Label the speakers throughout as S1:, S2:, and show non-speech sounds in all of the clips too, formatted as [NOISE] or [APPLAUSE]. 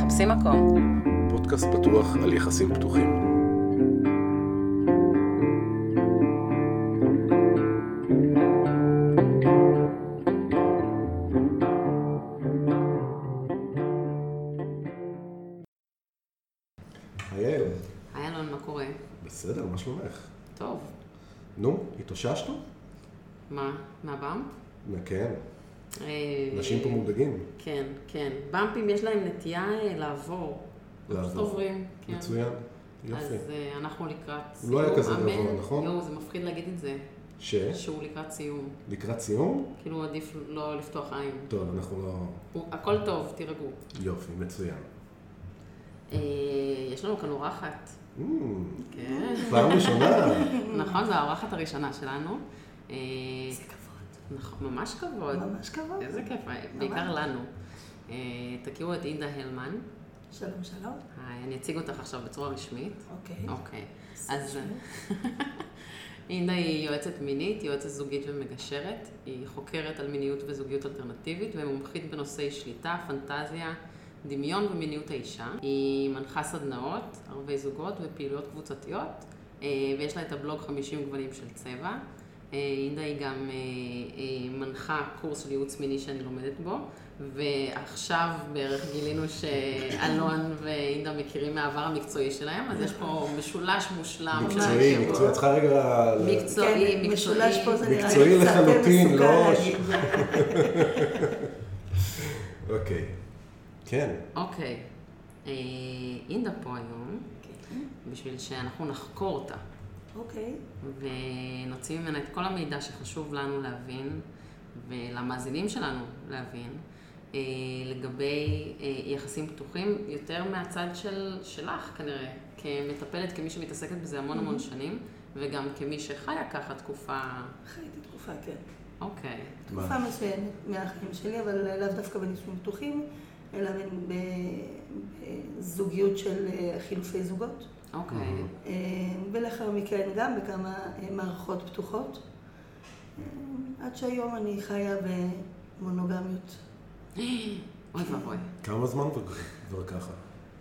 S1: תופסים מקום.
S2: פודקאסט פתוח על יחסים פתוחים.
S3: אייל,
S1: היי אלון, מה קורה?
S3: בסדר, מה שלומך?
S1: טוב.
S3: נו, התאוששנו?
S1: מה? מהבאמפ?
S3: מה, כן,
S1: אה,
S3: אנשים פה מודאגים.
S1: כן, כן. באמפים יש להם נטייה אה, לעבור. לא
S3: לעבור.
S1: פשוט עוברים, כן.
S3: מצוין,
S1: אז
S3: יופי.
S1: אה, אנחנו לקראת
S3: הוא
S1: סיום.
S3: לא היה כזה
S1: אמן.
S3: גבוה, נכון? כן.
S1: יואו, זה מפחיד להגיד את זה,
S3: ש?
S1: שהוא לקראת סיום.
S3: לקראת סיום?
S1: כאילו עדיף לא לפתוח עין.
S3: טוב, אנחנו לא...
S1: הוא- הכל טוב, תירגעו.
S3: יופי, מצוין.
S1: אה, יש לנו כאן אורחת.
S3: Mm,
S1: כן.
S3: פעם ראשונה.
S1: נכון, זו האורחת הראשונה שלנו. זה כבוד. נכון, ממש כבוד.
S4: ממש כבוד.
S1: איזה כיף, בעיקר לנו. אה, תכירו את אינדה הלמן.
S4: שלום, שלום.
S1: היי, אני אציג אותך עכשיו בצורה רשמית.
S4: אוקיי.
S1: אוקיי. אז אינדה היא יועצת מינית, יועצת זוגית ומגשרת. היא חוקרת על מיניות וזוגיות אלטרנטיבית ומומחית בנושאי שליטה, פנטזיה, דמיון ומיניות האישה. היא מנחה סדנאות, ערבי זוגות ופעילויות קבוצתיות, אה, ויש לה את הבלוג 50 גוונים של צבע. אה, אינדה היא גם אה, אה, מנחה קורס של ייעוץ מיני שאני לומדת בו, ועכשיו בערך גילינו שאלון ואינדה מכירים מהעבר המקצועי שלהם, אז יש פה משולש מושלם של
S3: מקצועי,
S4: כן,
S1: היכרות.
S3: מקצועי, את צריכה רגע... ל-
S1: מקצועי, לא, מקצועי.
S4: משולש פה זה נראה
S3: מקצועי
S4: לי קצת
S3: לחלוטין,
S4: מסוכן
S3: לא-
S4: להגיד.
S3: אוקיי. כן,
S1: אוקיי. אה, אינדה פה היום, בשביל שאנחנו נחקור אותה,
S4: אוקיי.
S1: ונוציא ממנה את כל המידע שחשוב לנו להבין, ולמאזינים שלנו להבין, אה, לגבי אה, יחסים פתוחים, יותר מהצד של, שלך כנראה, כמטפלת, כמי שמתעסקת בזה המון המון שנים, וגם כמי שחיה ככה תקופה...
S4: חייתי תקופה, כן.
S1: אוקיי.
S4: תקופה מסוימת מהחיים שלי, אבל לאו דווקא בנישואים פתוחים, אלא בין- ב- בזוגיות של אה, חילופי זוגות.
S1: אוקיי.
S4: אה, ולאחר מכן גם בכמה אה, מערכות פתוחות. אה, עד שהיום אני חיה במונוגמיות.
S1: אוי ואבוי.
S3: כמה זמן כבר- כבר ככה?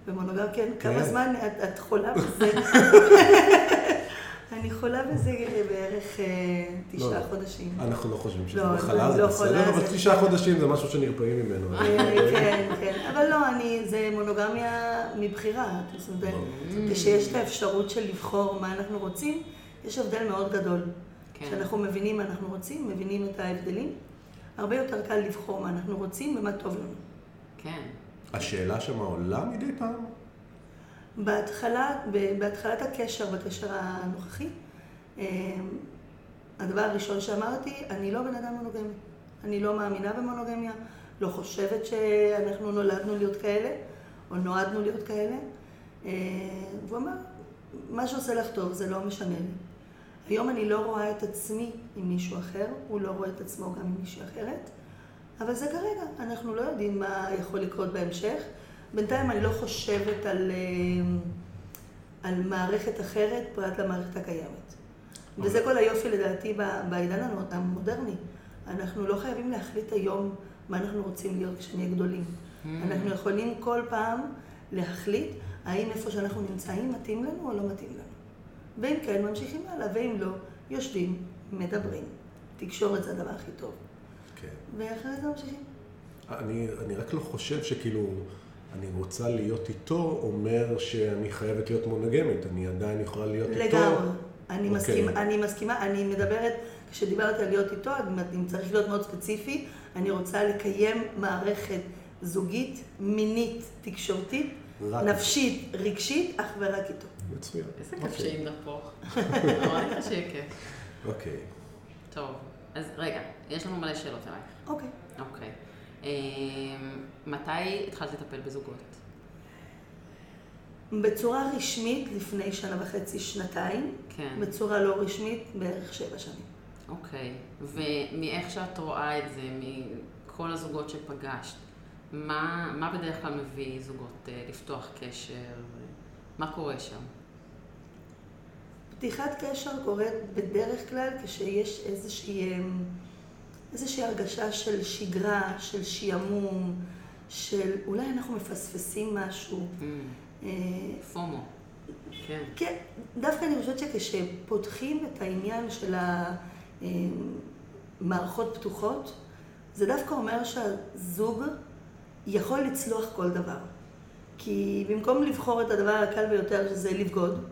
S4: במונוגרם, כן.
S3: כן.
S4: כמה זמן את, את חולה
S3: [LAUGHS]
S4: בזה? אני חולה בזה בערך אה, תשעה
S3: לא.
S4: חודשים.
S3: אנחנו לא חושבים שזה
S4: לא,
S3: מחלה,
S4: אני
S3: זה
S4: לא
S3: בסדר,
S4: חולה,
S3: אבל
S4: זה-
S3: תשעה חודשים זה משהו שנרפאים ממנו.
S4: אה, כן, כן. אבל לא, אני, זה מונוגמיה מבחירה. זאת אומרת, כשיש את האפשרות של לבחור מה אנחנו רוצים, יש הבדל מאוד גדול.
S1: כן.
S4: כשאנחנו מבינים מה אנחנו רוצים, מבינים את ההבדלים, הרבה יותר קל לבחור מה אנחנו רוצים ומה טוב לנו.
S1: כן.
S3: השאלה שם עולה מדי פעם?
S4: בהתחלה, ב- בהתחלת הקשר, בקשר הנוכחי, אה, הדבר הראשון שאמרתי, אני לא בן אדם מונוגמי. אני לא מאמינה במונוגמיה, לא חושבת שאנחנו נולדנו להיות כאלה, או נועדנו להיות כאלה. אה, והוא אמר, מה שעושה לך טוב זה לא משנה לי. היום אני לא רואה את עצמי עם מישהו אחר, הוא לא רואה את עצמו גם עם מישהי אחרת, אבל זה כרגע, אנחנו לא יודעים מה יכול לקרות בהמשך. בינתיים אני לא חושבת על, אה, על מערכת אחרת פרט למערכת הקיימת. וזה כל היופי לדעתי ב- בעידן הנו- המודרני. אנחנו לא חייבים להחליט היום מה אנחנו רוצים להיות כשנהיה גדולים. אנחנו
S1: Mm-hmm.
S4: יכולים כל פעם להחליט האם איפה שאנחנו נמצאים מתאים לנו או לא מתאים לנו. ואם כן, ממשיכים הלאה, ואם לא, יושבים, מדברים. תקשורת זה הדבר הכי טוב.
S3: כן.
S4: ואחרי זה ממשיכים.
S3: אני, אני רק לא חושב שכאילו, אני רוצה להיות איתו, אומר שאני חייבת להיות מונוגמית, אני עדיין יכולה להיות איתו.
S4: לגמרי. אני,
S3: אוקיי.
S4: מסכימה, אני מסכימה, אני מדברת, כשדיברת על להיות איתו, אני אני צריך להיות מאוד ספציפי, אני רוצה לקיים מערכת זוגית, מינית, תקשורתית,
S3: רק.
S4: נפשית, רגשית, אך ורק איתו.
S3: מצוין.
S1: איזה כיף
S3: אוקיי.
S1: שאינדה פה. נורא כיף שיהיה כיף.
S3: אוקיי.
S1: טוב, אז רגע, יש לנו מלא שאלות אלייך.
S4: אוקיי.
S1: אוקיי. אמ, מתי התחלת לטפל בזוגות?
S4: בצורה רשמית, לפני שנה וחצי, שנתיים.
S1: כן.
S4: בצורה לא רשמית, בערך שבע שנים.
S1: אוקיי. ומאיך שאת רואה את זה, מכל הזוגות שפגשת, מה, מה בדרך כלל מביא זוגות אה, לפתוח קשר? מה קורה שם?
S4: פתיחת קשר קורית בדרך כלל כשיש איזושהי, אמ, איזושהי הרגשה של שגרה, של שעמום, של אולי אנחנו מפספסים משהו. אה,
S1: Mm, פומו. כן.
S4: כן, דווקא אני חושבת שכשפותחים את העניין של המערכות פתוחות, זה דווקא אומר שהזוג יכול לצלוח כל דבר. כי במקום לבחור את הדבר הקל ביותר, שזה לבגוד,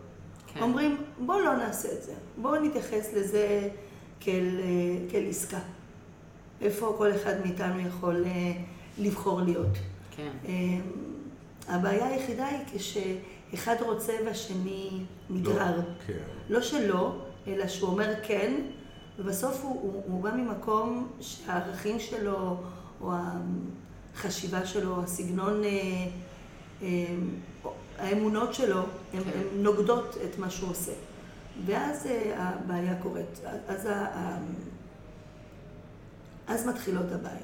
S1: כן.
S4: אומרים, בואו לא נעשה את זה, בואו נתייחס לזה כאל, אה, כאל עסקה. איפה כל אחד מאיתנו יכול אה, לבחור להיות.
S1: כן.
S4: אה, הבעיה היחידה היא כשאחד רוצה והשני נגרר.
S3: כן.
S4: לא שלא, אלא שהוא אומר כן, ובסוף הוא, הוא, הוא בא ממקום שהערכים שלו, או החשיבה שלו, הסגנון, אה, אה, או האמונות שלו, הן
S1: כן.
S4: כן. נוגדות את מה שהוא עושה. ואז אה, הבעיה קורית. אז, ה- ה- אז מתחילות הבעיות.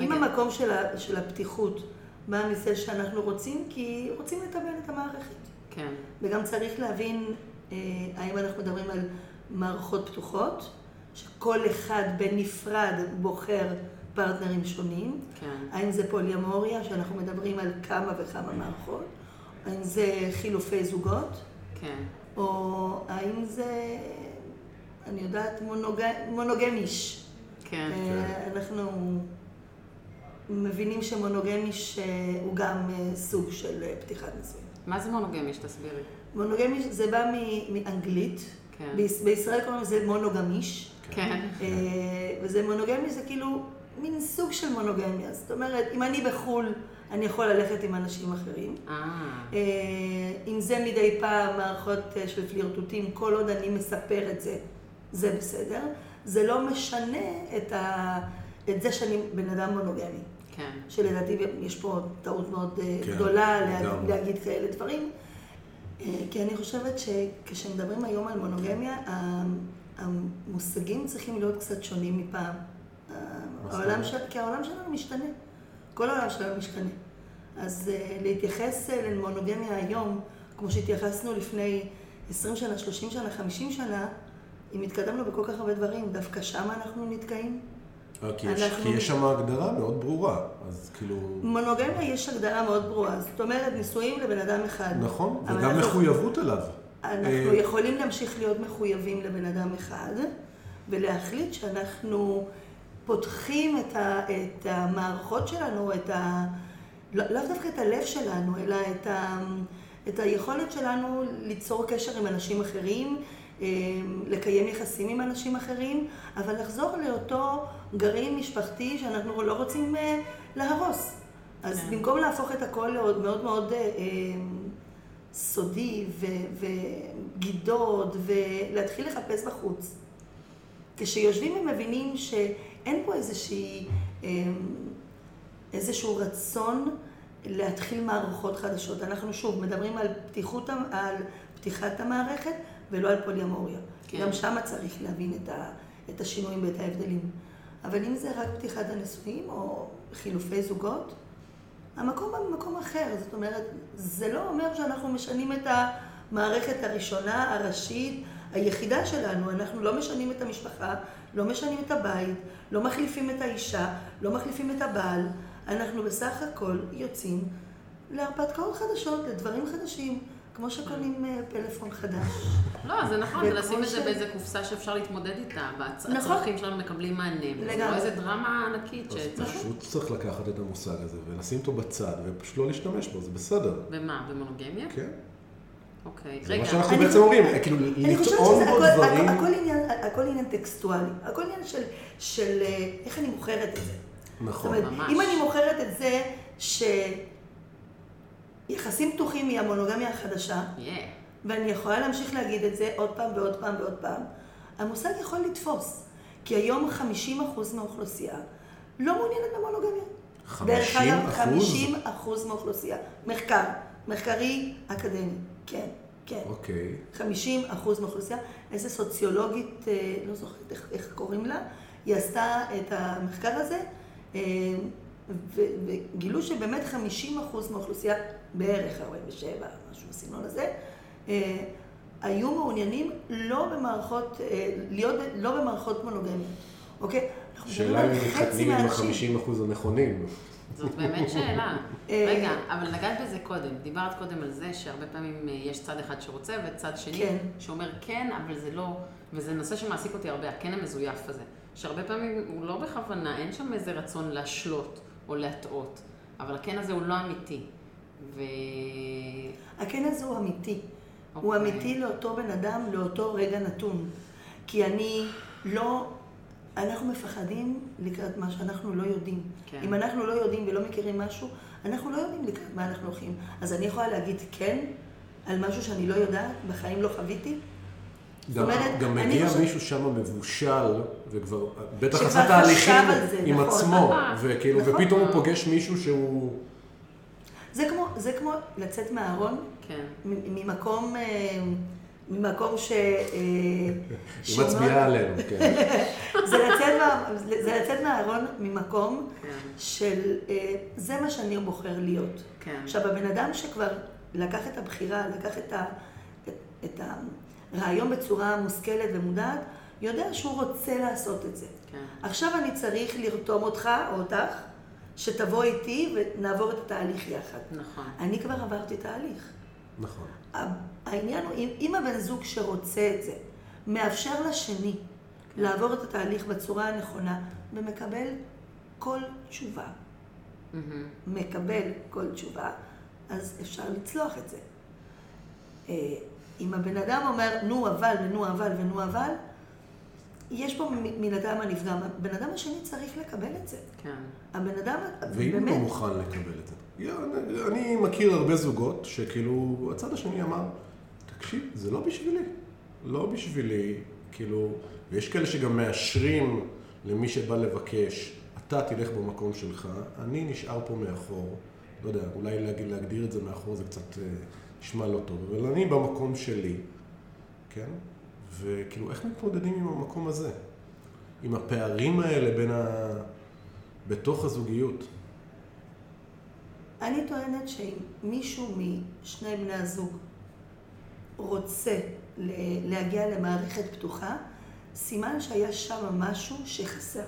S4: אם
S1: רגע.
S4: המקום של, ה, של הפתיחות בא מזה שאנחנו רוצים, כי רוצים לקבל את המערכת.
S1: כן.
S4: וגם צריך להבין אה, האם אנחנו מדברים על מערכות פתוחות, שכל אחד בנפרד בוחר פרטנרים שונים,
S1: כן.
S4: האם זה פוליאמוריה, שאנחנו מדברים על כמה וכמה מערכות, האם זה חילופי זוגות,
S1: כן.
S4: או האם זה, אני יודעת, מונוג... מונוגמיש.
S1: כן.
S4: אה, אנחנו מבינים שמונוגמיש אה, הוא גם אה, סוג של אה, פתיחת נישואים.
S1: מה זה מונוגמיש? תסבירי.
S4: מונוגמיש זה בא מ- מאנגלית,
S1: כן.
S4: ביש- בישראל קוראים לזה מונוגמיש,
S1: כן.
S4: אה, וזה מונוגמיש זה כאילו מין סוג של מונוגמיה, זאת אומרת, אם אני בחו"ל, אני יכול ללכת עם אנשים אחרים.
S1: אה.
S4: אה, אם זה מדי פעם מערכות אה, של פלירטוטים, כל עוד אני מספר את זה, זה בסדר. זה לא משנה את, ה... את זה שאני בן אדם מונוגמי.
S1: כן.
S4: שלדעתי יש פה טעות מאוד אה,
S3: כן,
S4: גדולה לה-
S3: לגמרי.
S4: להגיד כאלה דברים. אה, כי אני חושבת שכשמדברים היום על מונוגמיה,
S3: כן.
S4: ה- המושגים צריכים להיות קצת שונים מפעם. ה-
S3: אה, זאת
S4: העולם
S3: אומרת?
S4: ש... כי העולם שלנו משתנה. כל העולם שלנו משתנה. אז אה, להתייחס אה, למונוגמיה היום, כמו שהתייחסנו לפני 20 שנה, 30 שנה, 50 שנה, אם התקדמנו בכל כך הרבה דברים, דווקא שם אנחנו נתקעים.
S3: אה, כי יש-
S4: אנחנו-
S3: כי יש שם הגדרה מאוד ברורה, אז כאילו...
S4: מונוגמיה יש הגדרה מאוד ברורה, זאת אומרת נישואים לבן אדם אחד.
S3: נכון,
S4: אבל
S3: וגם
S4: אנחנו-
S3: מחויבות אליו.
S4: אנחנו
S3: אה,
S4: יכולים להמשיך להיות מחויבים לבן אדם אחד, ולהחליט שאנחנו פותחים את, ה, את המערכות שלנו, את ה... לא, לאו דווקא את הלב שלנו, אלא את, ה, את היכולת שלנו ליצור קשר עם אנשים אחרים, אה, לקיים יחסים עם אנשים אחרים, אבל לחזור לאותו גרעין משפחתי שאנחנו לא רוצים אה, להרוס. אז
S1: כן.
S4: במקום להפוך את הכל לעוד מאוד מאוד... אה, אה, סודי ו- וגידות ולהתחיל לחפש בחוץ. כשיושבים ומבינים שאין פה איזושהי, אמ, איזשהו רצון להתחיל מערכות חדשות. אנחנו שוב מדברים על, פתיחות, המ- על פתיחת המערכת ולא על פוליאמוריה.
S1: כן.
S4: כן. גם שם צריך להבין את, ה, את השינויים ואת ההבדלים. אבל אם זה רק פתיחת הנישואים או חילופי זוגות, המקום הוא במקום אחר. זאת אומרת, זה לא אומר שאנחנו משנים את המערכת הראשונה, הראשית, היחידה שלנו. אנחנו לא משנים את המשפחה, לא משנים את הבית, לא מחליפים את האישה, לא מחליפים את הבעל. אנחנו בסך הכל יוצאים להרפתקאות חדשות, לדברים חדשים, כמו שקונים אה, פלאפון חדש.
S1: לא, זה נכון, זה
S4: וכמו
S1: לשים את זה
S4: ש-
S1: באיזה קופסה שאפשר להתמודד איתה, והצ-
S4: נכון.
S1: הצרכים שלנו מקבלים מענה. זה לא
S4: לגמרי.
S1: איזה דרמה ענקית
S3: אז
S1: שצריך...
S3: פשוט צריך לקחת את המושג הזה ולשים אותו בצד ופשוט לא להשתמש בו, זה בסדר.
S1: במה? במונוגמיה?
S3: כן.
S1: אוקיי.
S3: זה
S1: רגע.
S3: מה שאנחנו
S4: אני
S3: בעצם
S4: חושבת-
S3: אומרים, כאילו
S4: אני חושבת
S3: לטעון
S4: שזה
S3: בו
S4: הכל,
S3: דברים.
S4: הכל, הכל, עניין, הכל עניין טקסטואלי, הכל עניין של, של אה, איך אני מוכרת את זה. זאת
S3: נכון.
S4: אומרת,
S1: ממש.
S4: אם אני מוכרת את זה שיחסים פתוחים היא המונוגמיה החדשה,
S1: Yeah.
S4: ואני יכולה להמשיך להגיד את זה עוד פעם ועוד פעם ועוד פעם, המושג יכול לתפוס. כי היום 50% מהאוכלוסייה לא מעוניינת במונוגמיה.
S3: 50%?
S4: דרך אגב, 50% מהאוכלוסייה. מחקר, מחקרי אקדמי. כן, כן.
S3: אוקיי.
S4: 50 אחוז מהאוכלוסייה, איזה סוציולוגית, אה, לא זוכרת איך, איך קוראים לה, היא עשתה את המחקר הזה, אה, ו- וגילו שבאמת 50 אחוז מהאוכלוסייה, בערך 47, משהו בסגנון הזה, אה, היו מעוניינים לא במערכות, אה, להיות לא במערכות מונוגמיות, אוקיי? אנחנו מדברים
S3: שאלה אם
S4: על
S3: הם
S4: חצי
S3: מתחתנים עם
S4: מהאנשים.
S3: החמישים אחוז הנכונים.
S1: זאת באמת שאלה.
S4: [LAUGHS] אה,
S1: רגע, אבל נגעת בזה קודם. דיברת קודם על זה שהרבה פעמים אה, יש צד אחד שרוצה וצד שני
S4: כן.
S1: שאומר כן, אבל זה לא... וזה נושא שמעסיק אותי הרבה, הכן המזויף הזה. שהרבה פעמים הוא לא בכוונה, אין שם איזה רצון להשלות או להטעות. אבל הכן הזה הוא לא אמיתי. ו...
S4: הכן הזה הוא אמיתי. הוא
S1: אוקיי.
S4: אמיתי לאותו בן אדם, לאותו רגע נתון. כי אני לא... אנחנו מפחדים לקראת מה שאנחנו לא יודעים.
S1: כן.
S4: אם אנחנו לא יודעים ולא מכירים משהו, אנחנו לא יודעים לקראת מה אנחנו הולכים. אז אני יכולה להגיד כן על משהו שאני לא יודעת, בחיים לא חוויתי,
S3: גם,
S4: אומרת,
S3: גם
S4: אני
S3: מגיע
S4: חושבת-
S3: מישהו שם מבושל, וכבר, בטח
S4: שכבר
S3: עשה
S4: חשב
S3: תהליכים
S4: על זה,
S3: עם
S4: נכון.
S3: עצמו,
S1: אה,
S3: וכאילו,
S4: נכון.
S3: ופתאום הוא פוגש מישהו שהוא...
S4: זה כמו, זה כמו לצאת מהארון
S1: כן.
S4: מ- ממקום, אה, ממקום ש... אה,
S3: היא
S4: שמאוד-
S3: מצביעה עלינו, כן.
S4: זה לצאת, מה, זה לצאת מהארון ממקום
S1: כן.
S4: של אה, זה מה שאני בוחר להיות.
S1: כן.
S4: עכשיו, הבן אדם שכבר לקח את הבחירה, לקח את, ה, את, את הרעיון בצורה מושכלת ומודעת, יודע שהוא רוצה לעשות את זה.
S1: כן.
S4: עכשיו אני צריך לרתום אותך או אותך, שתבוא איתי ונעבור את התהליך יחד.
S1: נכון.
S4: אני כבר עברתי תהליך.
S3: נכון.
S4: העניין הוא, אם, אם הבן זוג שרוצה את זה, מאפשר לשני לעבור את התהליך בצורה הנכונה, ומקבל כל תשובה,
S1: מהמם.
S4: מקבל כל תשובה, אז אפשר לצלוח את זה. אה, אם הבן אדם אומר, נו אבל, ונו אבל, ונו אבל, יש פה מ- מן אדם הנפגם. הבן אדם השני צריך לקבל את זה.
S1: כן.
S4: הבן אדם,
S3: ואם הוא לא מוכן לקבל את זה? אני- אני מכיר הרבה זוגות שכאילו, הצד השני אמר, תקשיב, זה לא בשבילי. לא בשבילי, כאילו, ויש כאלה שגם מאשרים למי שבא לבקש, אתה תלך במקום שלך, אני נשאר פה מאחור. לא יודע, אולי להגיד, להגדיר את זה מאחור זה קצת אה, נשמע לא טוב, אבל אני במקום שלי, כן? וכאילו, איך מתמודדים עם המקום הזה? עם הפערים האלה בין ה... בתוך הזוגיות.
S4: אני טוענת שאם מישהו משני בני הזוג רוצה ל- להגיע למערכת פתוחה, סימן שהיה שם משהו שחסר.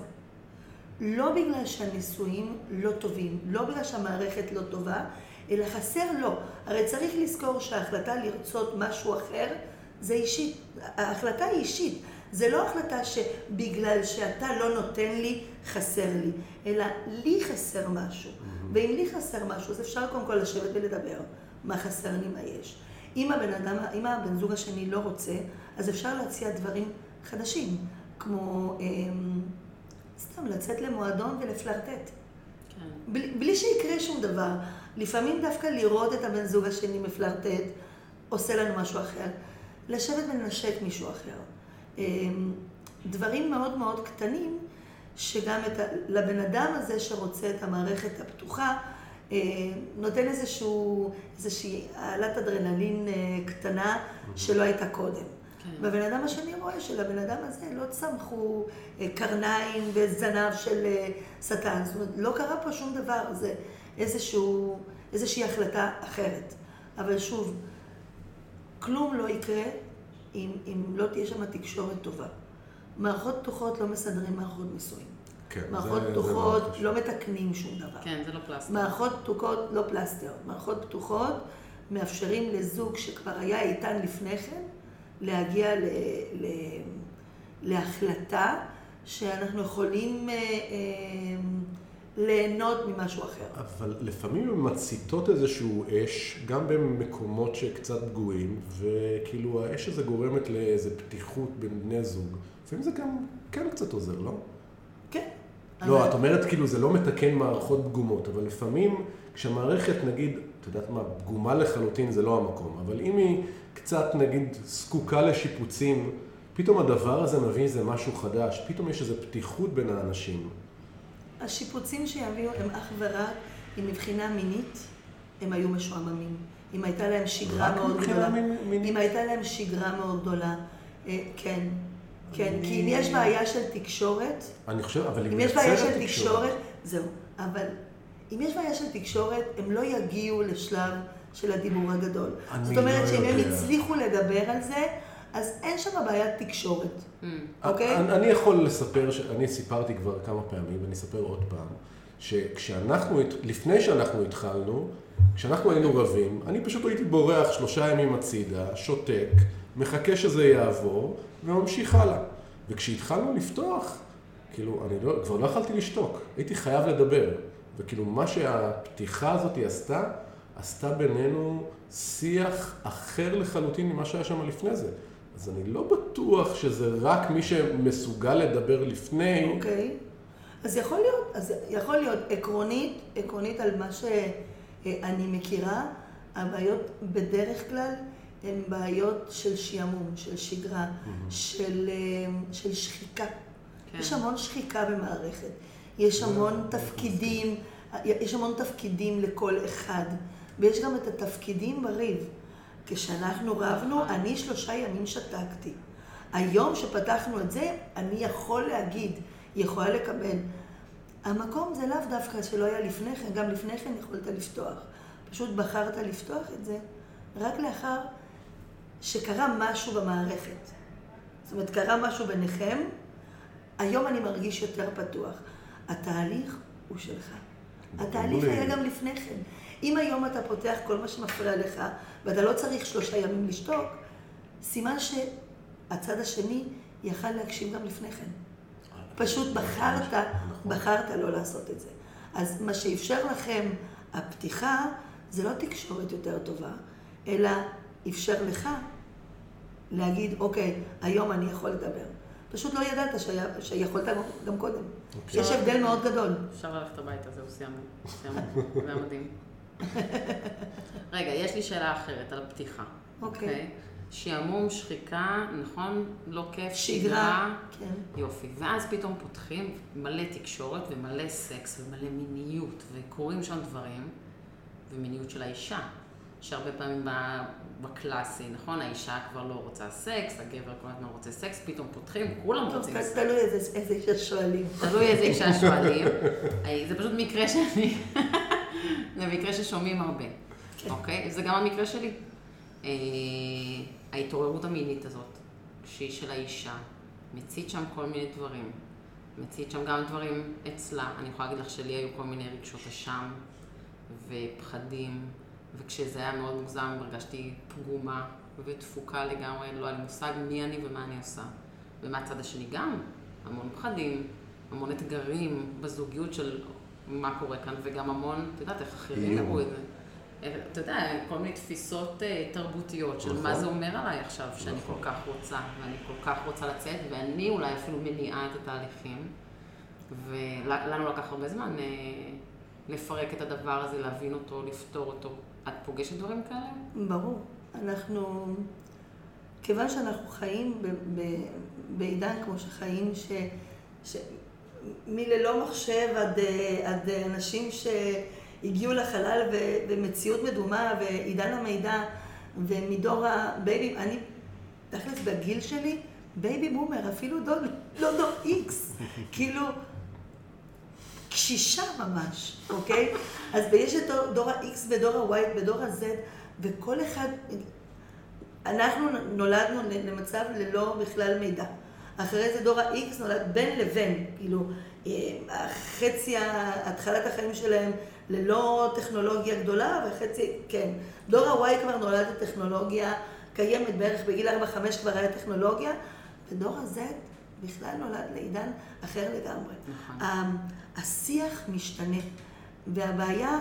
S4: לא בגלל שהנישואים לא טובים, לא בגלל שהמערכת לא טובה, אלא חסר לו. הרי צריך לזכור שההחלטה לרצות משהו אחר זה אישית. ההחלטה היא אישית. זה לא החלטה שבגלל שאתה לא נותן לי, חסר לי, אלא לי חסר משהו. ואם לי חסר משהו, אז אפשר קודם כל לשבת ולדבר מה חסר לי, מה יש. אם הבן אדם, אם הבן זוג השני לא רוצה, אז אפשר להציע דברים חדשים, כמו אמ, סתם לצאת למועדון ולפלרטט.
S1: כן.
S4: בלי, בלי שיקרה שום דבר. לפעמים דווקא לראות את הבן זוג השני מפלרטט עושה לנו משהו אחר. לשבת ולנשק מישהו אחר. אמ, דברים מאוד מאוד קטנים, שגם את ה, לבן אדם הזה שרוצה את המערכת הפתוחה, אמ, נותן איזשהו, איזושהי העלת אדרנלין אה, קטנה שלא הייתה קודם.
S1: כן.
S4: והבן אדם השני רואה שלבן אדם הזה לא צמחו אה, קרניים וזנב של אה, שטן. זאת אומרת, לא קרה פה שום דבר, זה איזשהו, איזושהי החלטה אחרת. אבל שוב, כלום לא יקרה אם, אם לא תהיה שם תקשורת טובה. מערכות פתוחות לא מסדרים מערכות נישואים.
S3: כן, זה-
S4: מערכות
S3: זה
S4: פתוחות
S3: מאוד חשוב.
S4: לא מתקנים שום דבר.
S1: כן, זה לא פלסטיק.
S4: מערכות פתוחות, לא פלסטר, מערכות פתוחות מאפשרים לזוג שכבר היה איתן לפני כן להגיע ל, ל, להחלטה שאנחנו יכולים אה, אה, ליהנות ממשהו אחר.
S3: אבל לפעמים הן מציתות איזשהו אש, גם במקומות שקצת פגועים, וכאילו האש הזה גורמת לאיזו פתיחות בין בני זוג. לפעמים זה גם כן קצת עוזר, לא?
S4: כן.
S3: לא,
S4: אבל-
S3: את אומרת כאילו זה לא מתקן מערכות פגומות, אבל לפעמים כשהמערכת נגיד, את יודעת מה, פגומה לחלוטין זה לא המקום, אבל אם היא קצת נגיד זקוקה לשיפוצים, פתאום הדבר הזה מביא איזה משהו חדש, פתאום יש איזו פתיחות בין האנשים.
S4: השיפוצים שיביאו הם אך ורק אם מבחינה מינית הם היו משועממים. אם הייתה להם שגרה
S3: רק
S4: מאוד
S3: מבחינה
S4: גדולה.
S3: מין- מינית?
S4: אם הייתה להם שגרה מאוד גדולה. אה, כן. כן, כי אם יש בעיה של תקשורת,
S3: אני חושב, אבל היא
S4: אם יש בעיה
S3: מייצרת
S4: של תקשורת, זהו. אבל אם יש בעיה של תקשורת, הם לא יגיעו לשלב של הדיבור הגדול.
S3: אני
S4: זאת אומרת
S3: לא
S4: שאם הם
S3: יודע.
S4: הצליחו לדבר על זה, אז אין שם בעיית תקשורת,
S1: Mm.
S4: אוקיי?
S3: אני, אני יכול לספר, ש- אני סיפרתי כבר כמה פעמים, ואני אספר עוד פעם, שכשאנחנו, הת- לפני שאנחנו התחלנו, כשאנחנו היינו רבים, אני פשוט הייתי בורח שלושה ימים הצידה, שותק, מחכה שזה יעבור, וממשיך הלאה. וכשהתחלנו לפתוח, כאילו, אני לא, כבר לא יכלתי לשתוק, הייתי חייב לדבר. וכאילו, מה שהפתיחה הזאת עשתה, עשתה בינינו שיח אחר לחלוטין ממה שהיה שם לפני זה. אז אני לא בטוח שזה רק מי שמסוגל לדבר לפני,
S4: אוקיי. אז יכול להיות, אז יכול להיות עקרונית, עקרונית על מה שאני מכירה, הבעיות בדרך כלל הן בעיות של שעמום, של שגרה, של, אה, של שחיקה.
S1: כן.
S4: יש המון שחיקה במערכת, יש המון תפקידים, יש המון תפקידים לכל אחד, ויש גם את התפקידים בריב. כשאנחנו רבנו, אני שלושה ימים שתקתי. היום שפתחנו את זה, אני יכול להגיד, יכולה לקבל. המקום זה לאו דווקא שלא היה לפני כן, גם לפני כן יכולת לפתוח. פשוט בחרת לפתוח את זה רק לאחר שקרה משהו במערכת. זאת אומרת, קרה משהו ביניכם, היום אני מרגיש יותר פתוח. התהליך הוא שלך. התהליך
S3: מעולה.
S4: היה גם לפני כן. אם היום אתה פותח כל מה שמפריע לך, ואתה לא צריך שלושה ימים לשתוק, סימן שהצד השני יכל להקשיב גם לפני כן. פשוט בחרת,
S3: נכון.
S4: בחרת לא לעשות את זה. אז מה שאפשר לכם הפתיחה, זה לא תקשורת יותר טובה, אלא אפשר לך להגיד, אוקיי, היום אני יכול לדבר. פשוט לא ידעת שהיה- שיכולת גם- גם קודם.
S3: אוקיי.
S4: יש הבדל מאוד גדול.
S1: אפשר ללכת הביתה, זהו, סיימנו. סיימנו, זה היה
S4: [LAUGHS]
S1: מדהים. רגע, יש לי שאלה אחרת על הפתיחה.
S4: אוקיי.
S1: שעמום, שחיקה, נכון? לא כיף,
S4: שגרה, כן.
S1: יופי. ואז פתאום פותחים מלא תקשורת ומלא סקס ומלא מיניות, וקורים שם דברים, ומיניות של האישה, שהרבה פעמים ב- בקלאסי, נכון? האישה כבר לא רוצה סקס, הגבר כל הזמן רוצה סקס, פתאום פותחים, כולם
S4: טוב,
S1: לא רוצים סקס.
S4: תלוי איזה איזה אישה שואלים.
S1: תלוי איזה אישה שואלים. אה, זה פשוט מקרה שאני... [LAUGHS] זה מקרה ששומעים הרבה,
S4: כן.
S1: אוקיי? זה גם המקרה שלי. אה, ההתעוררות המינית הזאת, שהיא של האישה, מצית שם כל מיני דברים. מצית שם גם דברים אצלה. אני יכולה להגיד לך שלי היו כל מיני רגשות אשם ופחדים, וכשזה היה מאוד מוגזם הרגשתי פגומה ותפוקה לגמרי, לא היה לי מושג מי אני ומה אני עושה. ומהצד השני גם, המון פחדים, המון אתגרים בזוגיות של מה קורה כאן, וגם המון, את יודעת, איך אחרים
S3: איום.
S1: יראו את זה. אה, אתה יודע, כל מיני תפיסות אה, תרבותיות של מה
S3: נכון.
S1: זה אומר עליי עכשיו, שאני
S3: נכון.
S1: כל כך רוצה, ואני כל כך רוצה לצאת, ואני אולי אפילו מניעה את התהליכים. ולנו לקח הרבה זמן אה, לפרק את הדבר הזה, להבין אותו, לפתור אותו. את פוגשת דברים כאלה?
S4: ברור. אנחנו, כיוון שאנחנו חיים ב, ב, בעידן כמו שחיים, ש, ש, מללא מחשב עד, אה, עד אה, אנשים שהגיעו לחלל ו, ומציאות מדומה ועידן המידע ומדור הבייבי, אני, תכלס בגיל שלי, בייבי בומר, אפילו דוד, לא דוד איקס, [LAUGHS] כאילו, קשישה ממש, אוקיי? אז יש את דור- דור ה-X ודור ה-Y ודור ה-Z, וכל אחד... אנחנו נולדנו למצב ללא בכלל מידע. אחרי זה דור ה-X נולד בין לבין, כאילו, אה, חצי, ה- התחלת החיים שלהם ללא טכנולוגיה גדולה, וחצי, כן. דור ה-Y כבר נולד לטכנולוגיה קיימת בערך בגיל 4-5 כבר היה טכנולוגיה, ודור ה-Z בכלל נולד לעידן אחר לגמרי.
S1: נכון.
S4: ה- אמ, השיח משתנה, והבעיה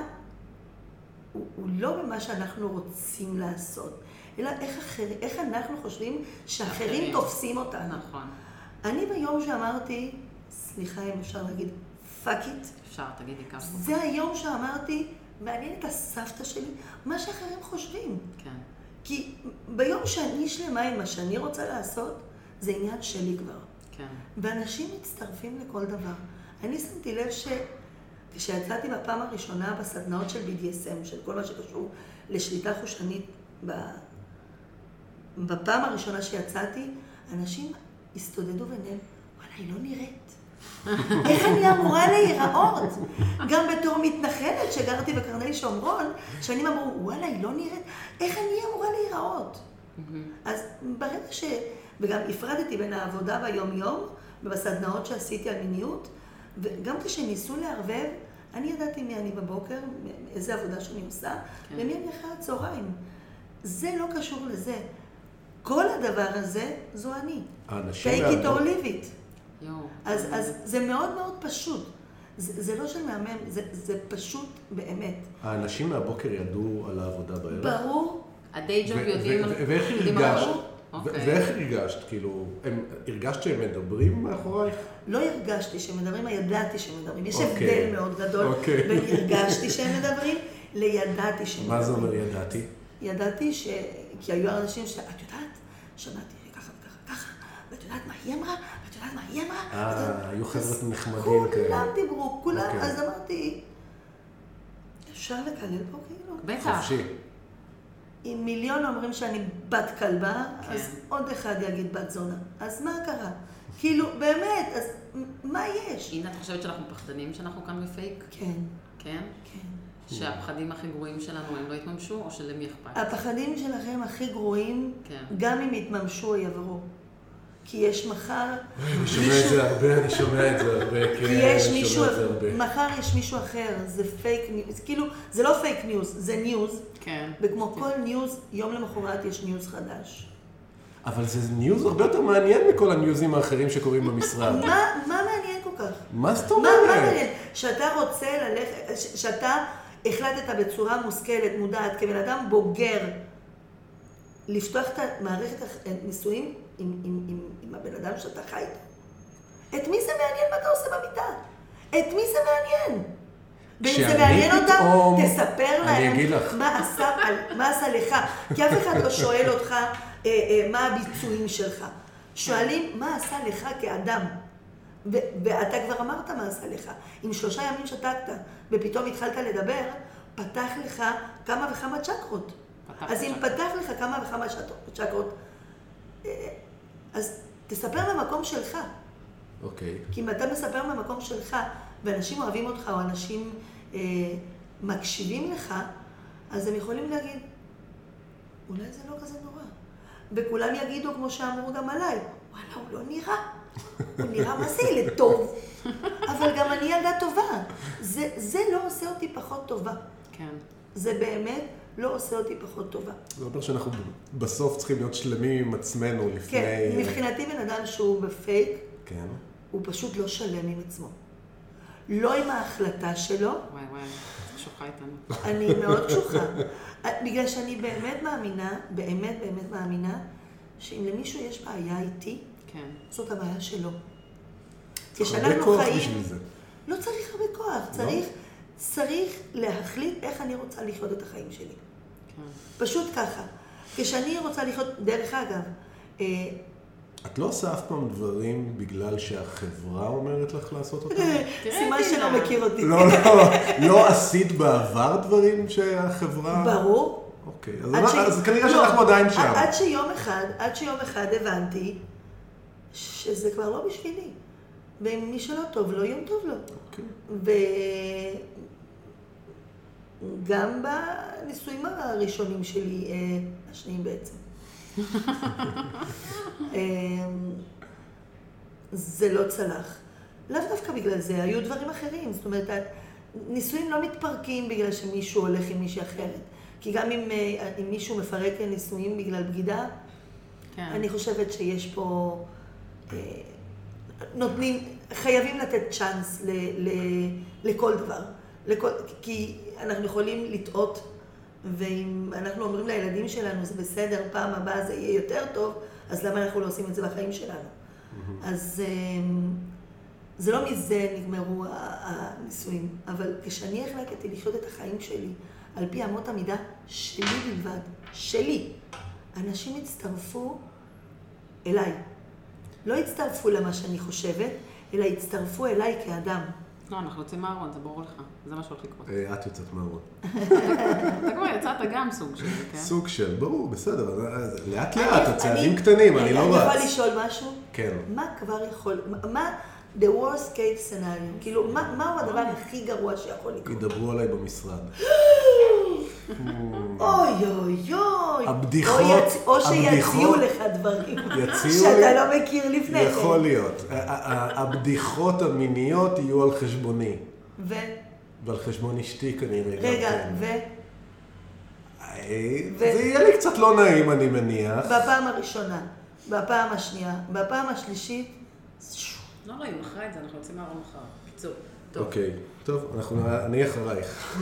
S4: הוא, הוא לא במה שאנחנו רוצים לעשות, אלא איך, אחר, איך אנחנו חושבים שאחרים
S1: אחרים.
S4: תופסים אותנו.
S1: נכון.
S4: אני ביום שאמרתי, סליחה אם אפשר להגיד, fuck it,
S1: אפשר, תגידי ככה.
S4: זה היום שאמרתי, מעניין את הסבתא שלי, מה שאחרים חושבים.
S1: כן.
S4: כי ביום שאני שלמה עם מה שאני רוצה לעשות, זה עניין שלי כבר.
S1: כן.
S4: ואנשים מצטרפים לכל דבר. אני שמתי לב שכשיצאתי בפעם הראשונה בסדנאות של BDSM, של כל מה שקשור לשליטה חושנית, ב... בפעם הראשונה שיצאתי, אנשים הסתודדו ביניהם, וואלה, היא לא נראית. איך אני אמורה להיראות? גם בתור מתנחלת שגרתי בקרני שומרון, שנים אמרו, וואלה, היא לא נראית, איך אני אמורה להיראות? אז ברגע ש... וגם הפרדתי בין העבודה ביום-יום, ובסדנאות שעשיתי על מיניות, וגם כשניסו לערבב, אני ידעתי מי אני בבוקר, איזה עבודה שאני עושה,
S1: כן.
S4: ומי אני אחרי הצהריים. זה לא קשור לזה. כל הדבר הזה, זו אני.
S3: האנשים
S4: take it or
S3: מהבוקר-
S4: leave it.
S1: יואו.
S4: אז, אז זה מאוד מאוד פשוט. זה, זה לא של מהמם, זה, זה פשוט באמת.
S3: האנשים מהבוקר ידעו על העבודה בערב.
S4: ברור,
S1: הדיי ג'וב
S3: ו-
S1: יודעים...
S3: ו-
S1: על-
S3: ו- ואיך
S1: יודעים על
S3: הרגשת?
S1: הכל?
S3: ו-
S1: אוקיי.
S3: ואיך הרגשת? כאילו, הם- הרגשת שהם מדברים מאחורייך?
S4: לא הרגשתי שהם מדברים, אבל ידעתי שהם מדברים. יש
S3: אוקיי.
S4: הבדל מאוד גדול
S3: אוקיי.
S4: בין הרגשתי שהם מדברים לידעתי שהם מדברים.
S3: מה זה אומר ידעתי?
S4: ידעתי ש... כי היו אנשים שאת יודעת, שמעתי ככה וככה וככה, ואת יודעת מה היא אמרה, ואת יודעת מה היא אמרה.
S3: אה,
S4: ואת יודעת-
S3: היו חבר'ה
S4: אז
S3: נחמדים
S4: כולם
S3: כאלה.
S4: דיברו, כולם,
S3: אוקיי.
S4: אז אמרתי, אפשר לקלל פה כאילו?
S1: בטח.
S3: חופשי.
S4: אם מיליון אומרים שאני בת כלבה,
S1: כן.
S4: אז עוד אחד יגיד בת זונה. אז מה קרה? כאילו, באמת, אז מה יש?
S1: הנה, את חושבת שאנחנו פחדנים שאנחנו כאן בפייק?
S4: כן,
S1: כן?
S4: כן.
S1: שהפחדים הכי גרועים שלנו הם לא יתממשו, או שלמי אכפת?
S4: הפחדים שלכם הכי גרועים,
S1: כן.
S4: גם אם יתממשו, יעברו. כי יש מחר
S3: אני שומע את
S4: מישהו,
S3: זה הרבה, אני שומע את זה הרבה, כן,
S4: כי
S3: אני
S4: יש מישהו,
S3: שומע את זה הרבה.
S4: מחר יש מישהו אחר, זה פייק ניוז, כאילו, זה לא פייק ניוז, זה ניוז,
S1: כן.
S4: וכמו כל ניוז, יום למחרת יש ניוז חדש.
S3: אבל זה ניוז הרבה יותר מעניין מכל הניוזים האחרים שקורים במשרד.
S4: מה, מה מעניין כל כך?
S3: מה זאת
S4: מה מה
S3: אומרת?
S4: מעניין? שאתה רוצה ללכת, ש- שאתה החלטת בצורה מושכלת, מודעת, כבן אדם בוגר, לפתוח את מערכת הנישואים עם, עם, עם, עם הבן אדם שאתה חי איתו? את מי זה מעניין מה אתה עושה במיטה? את מי זה מעניין? ואם זה
S3: כשאני
S4: מעניין אותם,
S3: פתאום-
S4: תספר
S3: אני
S4: להם
S3: אגיד לך.
S4: מה, עשה, על- מה עשה לך. כי אף אחד לא שואל אותך אה, אה, מה הביצועים שלך. שואלים מה עשה לך כאדם. ו- ואתה כבר אמרת מה עשה לך. אם שלושה ימים שתקת ופתאום התחלת לדבר, פתח לך כמה וכמה צ'קרות.
S1: פתח
S4: אז אם
S1: צ'קרות.
S4: פתח לך כמה וכמה צ'ט- צ'קרות, אה, אז תספר מהמקום שלך.
S3: אוקיי.
S4: כי אם אתה מספר מהמקום שלך, ואנשים אוהבים אותך, או אנשים אה, מקשיבים לך, אז הם יכולים להגיד, אולי זה לא כזה נורא. וכולם יגידו, כמו שאמרו גם עליי, וואלה, הוא לא נראה. הוא נראה מה זה ילד טוב. אבל גם אני ילדה טובה. זה, זה לא עושה אותי פחות טובה.
S1: כן.
S4: זה באמת לא עושה אותי פחות טובה.
S3: זה אומר שאנחנו בסוף צריכים להיות שלמים עם עצמנו לפני...
S4: כן, מבחינתי בן אדם שהוא בפייק,
S3: כן.
S4: הוא פשוט לא שלם עם עצמו. לא עם ההחלטה שלו,
S1: וואי וואי, שוחה איתנו.
S4: אני מאוד קשוחה. בגלל שאני באמת מאמינה, באמת באמת מאמינה, שאם למישהו יש בעיה איתי,
S1: כן.
S4: זאת הבעיה שלו. כשאנחנו
S3: הרבה כוח
S4: חיים-
S3: בשביל זה.
S4: לא צריך הרבה כוח, צריך, צריך להחליט איך אני רוצה לחיות את החיים שלי.
S1: כן.
S4: פשוט ככה. כשאני רוצה לחיות, דרך אגב, אה,
S3: את לא עושה אף פעם דברים בגלל שהחברה אומרת לך לעשות
S4: [LAUGHS]
S3: אותם?
S1: אה,
S4: סימן
S1: תראי,
S4: שלא
S1: דינה.
S4: מכיר אותי.
S3: לא, לא, לא עשית בעבר דברים שהחברה...
S4: ברור.
S3: אוקיי, אז
S4: עד
S3: מה-
S4: ש-
S3: אז כנראה
S4: לא,
S3: שאנחנו עדיין
S4: עד-
S3: שם.
S4: עד שיום אחד, עד שיום אחד הבנתי שזה כבר לא בשבילי. ומי שלא טוב לו, יום טוב לו.
S3: אוקיי.
S4: וגם בנישואים הראשונים שלי, אה, השניים בעצם. אה, זה לא צלח. לאו דווקא בגלל זה, היו דברים אחרים. זאת אומרת, נישואים לא מתפרקים בגלל שמישהו הולך עם מישהי אחרת. כי גם אם, אה, אם מישהו מפרק נישואים בגלל בגידה,
S1: כן.
S4: אני חושבת שיש פה... אה, נותנים, חייבים לתת צ'אנס ל, ל, לכל דבר. לכל, כי אנחנו יכולים לטעות, ואם אנחנו אומרים לילדים שלנו, זה בסדר, פעם הבאה זה יהיה יותר טוב, אז למה אנחנו לא עושים את זה בחיים שלנו? אז אה, זה לא מזה נגמרו ה- הנישואים, אבל כשאני החלטתי לחיות את החיים שלי על פי אמות המידה שלי בלבד, שלי, אנשים הצטרפו אליי. לא הצטרפו למה שאני חושבת, אלא הצטרפו אליי כאדם.
S1: לא, אנחנו יוצאים מהארון, זה ברור לך. זה מה שהולך לקרות.
S3: אה, את יוצאת מהארון.
S1: אתה כבר יצאת גם סוג של זה, כן?
S3: סוג של, ברור, בסדר, אז- אז לאט
S4: אני-
S3: לאט, הצעדים
S4: אני-
S3: אה, קטנים, אני לא
S4: אני יכולה
S3: רץ.
S4: לשאול משהו?
S3: כן.
S4: מה כבר יכול, מה- מה the worst case scenario? כאילו, מה- מהו הדבר הכי גרוע שיכול לקרות?
S3: ידברו עליי במשרד.
S4: אוי אוי אוי.
S3: כן. הבדיחות-
S4: או יצ- או שיציעו
S3: הבדיחות-
S4: לך דברים
S3: [LAUGHS] יציעו
S4: שאתה
S3: לי-
S4: לא מכיר לפני כן.
S3: יכול להיות. ה- ה- ה- הבדיחות המיניות יהיו על חשבוני.
S4: ו...
S3: ועל חשבון אשתי כנראה. גם
S4: רגע,
S3: כן.
S4: ו...
S3: אה,
S4: ו-
S3: זה יהיה לי קצת לא נעים, אני מניח.
S4: בפעם הראשונה, בפעם השנייה, בפעם השלישית,
S1: [LAUGHS] לא, לא, היא מכרה את זה, אנחנו יוצאים מהארון מחר. קיצור. טוב.
S3: אוקיי. טוב, אנחנו- אני אחרייך.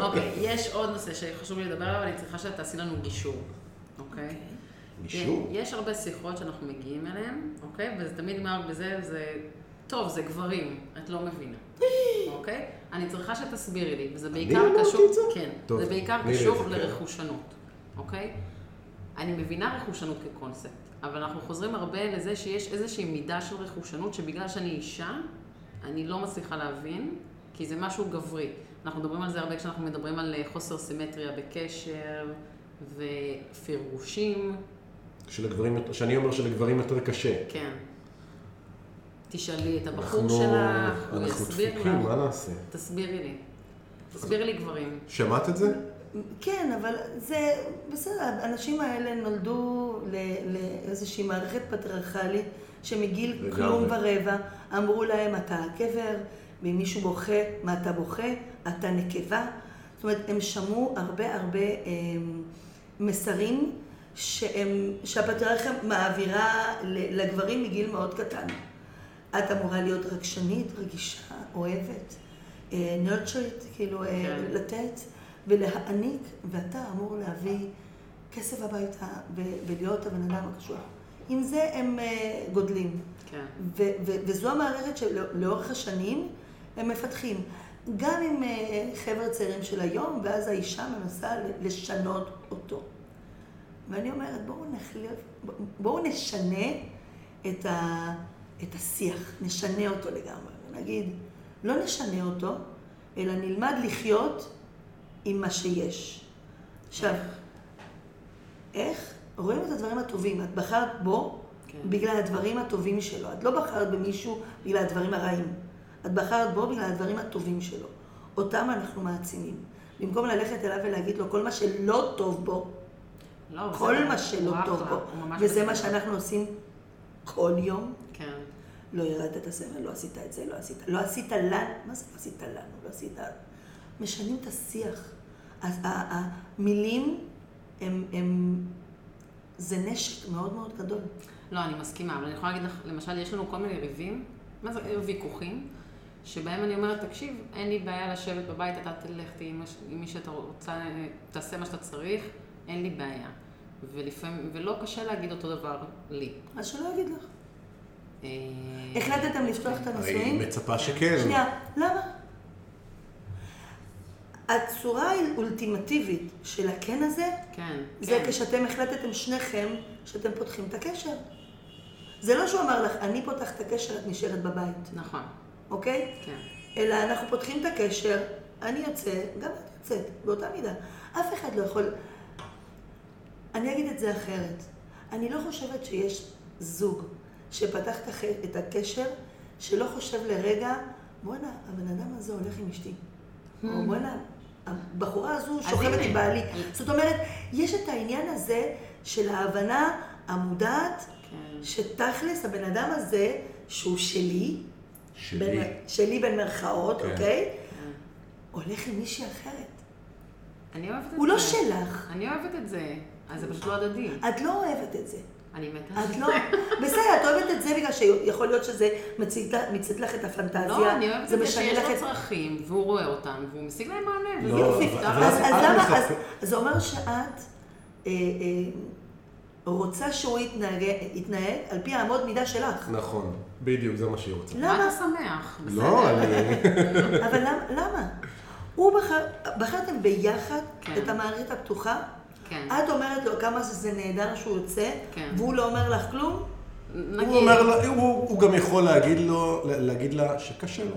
S1: אוקיי, יש עוד נושא שחשוב לי לדבר עליו, אני צריכה שאתה תעשי לנו גישור. אוקיי?
S3: גישור?
S1: יש הרבה שיחות שאנחנו מגיעים אליהן, אוקיי? וזה תמיד נגמר בזה, זה... טוב, זה גברים, את לא מבינה.
S3: [GASPS]
S1: אוקיי? אני צריכה שתסבירי לי, וזה בעיקר
S3: אמרתי
S1: קשור...
S3: את זה?
S1: כן.
S3: טוב,
S1: זה בעיקר
S3: תני לי את
S1: קשור
S3: זה, כן.
S1: לרכושנות, אוקיי? אני מבינה רכושנות כקונספט, אבל אנחנו חוזרים הרבה לזה שיש איזושהי מידה של רכושנות, שבגלל שאני אישה, אני לא מצליחה להבין, כי זה משהו גברי. אנחנו מדברים על זה הרבה כשאנחנו מדברים על אה, חוסר סימטריה בקשר, ופרגושים.
S3: שלגברים- שאני אומר שלגברים יותר קשה.
S1: כן. תשאלי את הבחור
S3: אנחנו-
S1: שלך, הוא
S3: אנחנו
S1: יסביר
S3: דפוקים,
S1: לך.
S3: מה נעשה?
S1: תסבירי לי. תסבירי לי גברים.
S3: שמעת את זה?
S4: כן, אבל זה בסדר, האנשים האלה נולדו ל- לאיזושהי מערכת פטריארכלית שמגיל
S3: לגמרי.
S4: כלום ורבע אמרו להם, אתה גבר, ואם מישהו בוכה, מה אתה בוכה? אתה נקבה. זאת אומרת, הם שמעו הרבה הרבה הם, מסרים שהם, שהפטריארכיה מעבירה ל- לגברים מגיל מאוד קטן. את אמורה להיות רגשנית, רגישה, אוהבת, נרצ'רית, כאילו אה,
S1: כן.
S4: לתת ולהעניק, ואתה אמור להביא כסף הביתה ו- ולהיות הבן אדם הקשוח. עם זה הם אה, גודלים.
S1: כן.
S4: ו- ו- וזו המערכת שלאורך השנים הם מפתחים. גם עם אה, חבר'ה צעירים של היום, ואז האישה מנסה ל- לשנות אותו. ואני אומרת, בואו נחליף, ב- בואו נשנה את, ה, את השיח, נשנה אותו לגמרי. נגיד, לא נשנה אותו, אלא נלמד לחיות עם מה שיש. עכשיו, איך? רואים את הדברים הטובים, את בחרת בו
S1: כן.
S4: בגלל הדברים הטובים שלו. את לא בחרת במישהו בגלל הדברים הרעים. את בחרת בו בגלל הדברים הטובים שלו. אותם אנחנו מעצימים. במקום ללכת אליו ולהגיד לו כל מה שלא טוב בו,
S1: לא, אבל
S4: כל
S1: זה-
S4: מה שלא
S1: הוא
S4: טוב
S1: אחלה,
S4: בו,
S1: הוא ממש
S4: וזה מה
S1: בסדר.
S4: שאנחנו עושים כל יום,
S1: כן.
S4: לא ירדת את הסבל, לא עשית את זה, לא עשית, לא עשית לנו, מה זה לא עשית לנו, לא עשית... משנים את השיח. אז ה- ה- המילים הם, הם, זה נשק מאוד מאוד גדול.
S1: לא, אני מסכימה, אבל אני יכולה להגיד לך, למשל, יש לנו כל מיני ריבים, מה זה ויכוחים, שבהם אני אומרת, תקשיב, אין לי בעיה לשבת בבית, אתה תלך, תהיי עם מש- עם מי שאתה רוצה, אה, תעשה מה שאתה צריך, אין לי בעיה. ולפעמים, ולא קשה להגיד אותו דבר לי.
S4: אז שלא יגיד לך.
S1: אה,
S4: החלטתם לפתוח את
S3: הרי היא
S4: הנישואים?
S3: מצפה שכן.
S4: שנייה, למה? הצורה האולטימטיבית של הכן הזה,
S1: כן.
S4: זה
S1: כן.
S4: כשאתם החלטתם שניכם שאתם פותחים את הקשר. זה לא שהוא אמר לך, אני פותח את הקשר, את נשארת בבית,
S1: נכון,
S4: אוקיי?
S1: כן.
S4: אלא אנחנו פותחים את הקשר, אני יוצא, גם את יוצאת, באותה מידה. אף אחד לא יכול... אני אגיד את זה אחרת. אני לא חושבת שיש זוג שפתח את הח- את הקשר, שלא חושב לרגע, בואנה, הבן אדם הזה הולך עם אשתי. או בואנה, הבחורה הזו שוכבת
S1: הנה.
S4: עם בעלי. זאת אומרת, יש את העניין הזה של ההבנה המודעת,
S1: כן.
S4: שתכלס הבן אדם הזה, שהוא שלי,
S3: שלי.
S4: בין- שלי במרכאות,
S3: כן.
S4: אוקיי? הולך עם מישהי אחרת.
S1: אני אוהבת את זה.
S4: הוא לא שלך.
S1: אני אוהבת את זה. אז זה פשוט לא הדדי.
S4: את לא אוהבת את זה.
S1: אני מתה.
S4: את לא... בסדר, את אוהבת את זה בגלל שיכול להיות שזה מציג ת- מציג לך את הפנטזיה.
S1: לא, אני אוהבת את זה
S4: משנה
S1: שיש
S4: לך
S1: לו צרכים, והוא רואה אותם, והוא משיג להם מענה. וזה
S3: לא,
S1: יופי.
S3: אבל-
S1: אתה
S3: אבל-
S1: רואה?
S4: אז אז
S3: את
S4: למה... אז
S3: מחפ-
S4: זה אומר שאת אה, אה, רוצה שהוא יתנהג יתנהג על פי האמות מידה שלך.
S3: נכון, בדיוק, זה מה שהיא רוצה.
S1: מה
S4: למה?
S1: אתה שמח?
S3: לא,
S1: בסדר.
S3: אני...
S4: אבל למה- למה? הוא בחר... בחרתם ביחד
S1: כן.
S4: את המערכת הפתוחה?
S1: כן.
S4: את אומרת לו כמה שזה נהדר שהוא יוצא,
S1: כן.
S4: והוא לא אומר לך כלום?
S1: נגיד,
S3: הוא אומר לא. לה, הוא, הוא גם יכול להגיד לו, להגיד לה שקשה לו.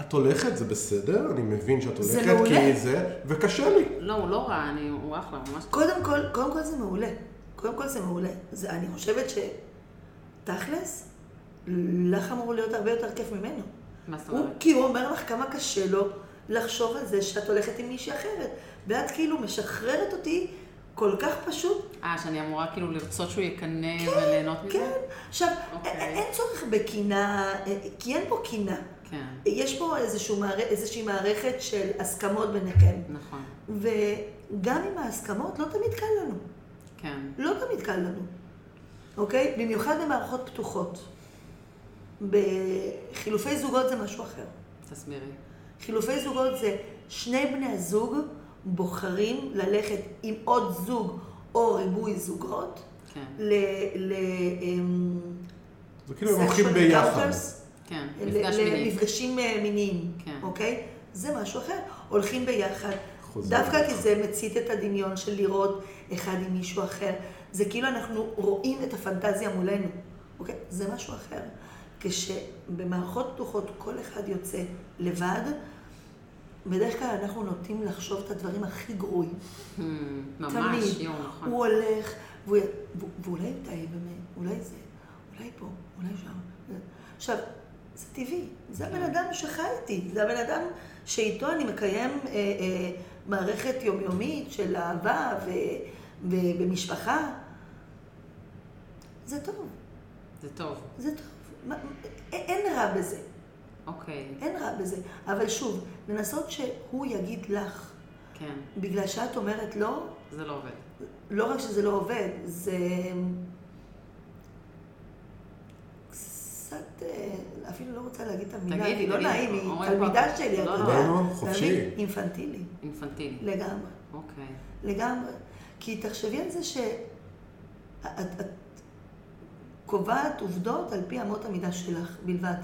S3: את הולכת, זה בסדר, אני מבין שאת
S4: זה
S3: הולכת,
S4: מעולה.
S3: כי זה, וקשה לי.
S1: לא, הוא לא רע, אני- הוא אחלה, הוא ממש...
S4: קודם כל, קודם כל זה מעולה. קודם כל זה מעולה. זה, אני חושבת שתכלס, לך אמור להיות הרבה יותר כיף ממנו.
S1: מה זאת
S4: הוא,
S1: אומרת?
S4: כי הוא אומר לך כמה קשה לו, לחשוב על זה שאת הולכת עם מישהי אחרת. ואת כאילו משחררת אותי כל כך פשוט.
S1: אה, שאני אמורה כאילו לרצות שהוא יקנא וליהנות מזה?
S4: כן. עכשיו,
S1: אוקיי.
S4: אין- אין צורך בקינה, אה, כי אין פה קינה.
S1: כן,
S4: יש פה איזשהו מער- איזושהי מערכת של הסכמות ביניכם.
S1: נכון.
S4: וגם עם ההסכמות לא תמיד קל לנו.
S1: כן.
S4: לא תמיד קל לנו, אוקיי? במיוחד במערכות פתוחות. בחילופי זוגות זה משהו אחר.
S1: תסבירי.
S4: חילופי זוגות זה שני בני הזוג בוחרים ללכת עם עוד זוג או ריבוי זוגות
S1: כן,
S4: ל... ל אמ,
S3: זה כאילו הם
S4: sexual
S3: הולכים ביחד.
S4: encounters,
S1: כן.
S4: ל-
S1: מפגש
S4: ל-
S1: מיני.
S4: מפגשים אה, מיניים,
S1: כן.
S4: אוקיי? זה משהו אחר. הולכים ביחד.
S3: חוזרים.
S4: דווקא כי זה מצית את הדמיון של לראות אחד עם מישהו אחר. זה כאילו אנחנו רואים את הפנטזיה מולנו, אוקיי? זה משהו אחר. כשבמערכות פתוחות כל אחד יוצא לבד, בדרך כלל אנחנו נוטים לחשוב את הדברים הכי גרועים.
S1: Hmm, ממש,
S4: תמיד.
S1: יום, נכון.
S4: הוא הולך, והוא י- ו- ואולי הוא טעי באמת, אולי זה, אולי פה, אולי שם. עכשיו, זה טבעי, זה הבן אדם שחי איתי, זה הבן אדם שאיתו אני מקיים אה, אה, מערכת יומיומית של אהבה ו, ו, ומשפחה. זה טוב,
S1: זה טוב.
S4: זה טוב. מה- א- אין רע בזה,
S1: אוקיי,
S4: אין רע בזה. אבל שוב, לנסות שהוא יגיד לך,
S1: כן.
S4: בגלל שאת אומרת לא,
S1: זה לא עובד.
S4: לא רק שזה לא עובד, זה קצת, אה, אפילו לא רוצה להגיד את המילה,
S1: תגידי,
S4: כי לא
S1: תגידי,
S4: נעים, היא
S1: אומרים פה-
S4: תלמידה שלי, אתה
S1: לא,
S4: יודע,
S1: לא.
S3: לא, לא,
S4: אתה
S3: חופשי.
S4: מבין? אינפנטילי,
S1: אינפנטילי.
S4: לגמרי,
S1: אוקיי.
S4: לגמרי. כי תחשבי על זה שאת את קובעת עובדות על פי אמות המידה שלך בלבד.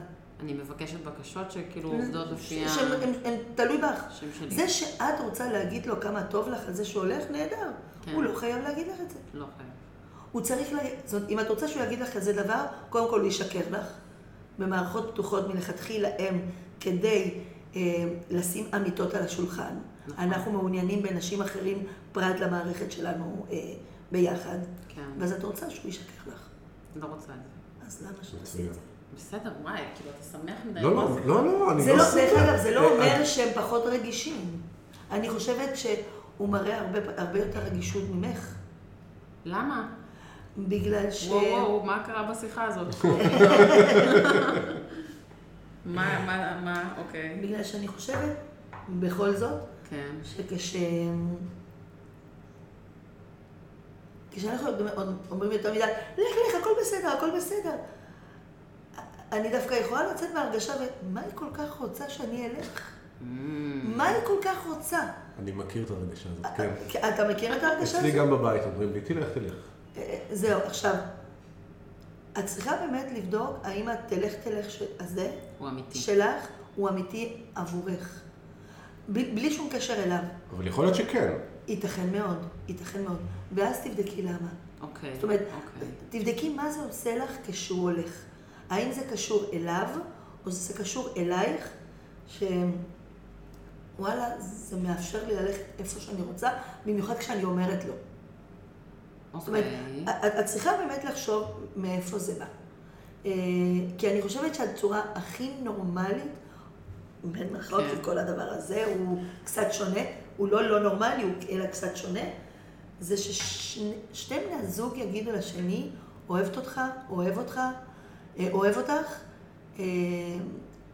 S1: אני מבקשת בקשות שכאילו
S4: לא.
S1: עובדות לפי ה...
S4: שהן תלוי בך.
S1: שם שלי.
S4: זה שאת רוצה להגיד לו כמה טוב לך על זה שהוא הולך, נהדר.
S1: כן.
S4: הוא לא חייב להגיד לך את זה.
S1: לא חייב.
S4: הוא צריך ל... זאת אומרת, אם את רוצה שהוא יגיד לך כזה דבר, קודם כל הוא ישקר לך. במערכות פתוחות מלכתחילה הם כדי אה, לשים אמיתות על השולחן.
S1: נכון.
S4: אנחנו מעוניינים בנשים אחרים פרט למערכת שלנו אה, ביחד.
S1: כן.
S4: ואז את רוצה שהוא ישקר לך.
S1: לא רוצה את זה.
S4: אז למה שתעשי
S3: מצוין.
S4: את זה?
S1: בסדר, וואי, כאילו, אתה שמח מדי.
S3: לא,
S1: מה
S3: לא,
S1: זה?
S3: לא, לא, אני
S4: זה לא,
S3: סובל.
S4: דרך אגב, זה
S3: אה,
S4: לא אומר שהם פחות רגישים. אני חושבת שהוא מראה הרבה, הרבה יותר רגישות ממך,
S1: למה?
S4: בגלל ש...
S1: וואו, וואו, מה קרה בשיחה
S3: [LAUGHS]
S1: הזאת? מה, מה, מה, אוקיי.
S4: בגלל שאני חושבת, בכל זאת,
S1: כן.
S4: שכש... כשאנחנו עוד- עוד אומרים יותר מדי, לך, לך, הכל בסדר, הכל בסדר. אני דווקא יכולה לצאת מהרגשה, ומה היא כל כך רוצה שאני אלך?
S1: Mm,
S4: מה היא כל כך רוצה?
S3: אה, אני מכיר את הרגשה הזאת, כן.
S4: אתה מכיר את ההרגשה
S3: אצלי
S4: הזאת?
S3: גם בבית אומרים לי, תלך, תלך.
S4: אה, זהו, עכשיו, את צריכה באמת לבדוק האם התלך תלך ש- הזה
S1: הוא אמיתי.
S4: שלך הוא אמיתי עבורך. בלי בלי שום קשר אליו.
S3: אבל יכול להיות שכן.
S4: ייתכן מאוד, ייתכן מאוד. ואז תבדקי למה.
S1: אוקיי.
S4: זאת אומרת,
S1: אוקיי.
S4: תבדקי מה זה עושה לך כשהוא הולך. האם זה קשור אליו, או זה קשור אלייך, שוואלה, זה מאפשר לי ללכת איפה שאני רוצה, במיוחד כשאני אומרת לא. זאת אומרת,
S1: אוקיי.
S4: את, את צריכה באמת לחשוב מאיפה זה בא. אה, כי אני חושבת שהצורה הכי נורמלית, בין מחלות,
S1: כן.
S4: כי כל הדבר הזה הוא קצת שונה, הוא לא לא נורמלי, הוא אלא קצת שונה, זה ששני בני הזוג יגידו לשני, אוהבת אותך, אוהב אותך, אה, אוהב אותך, אה,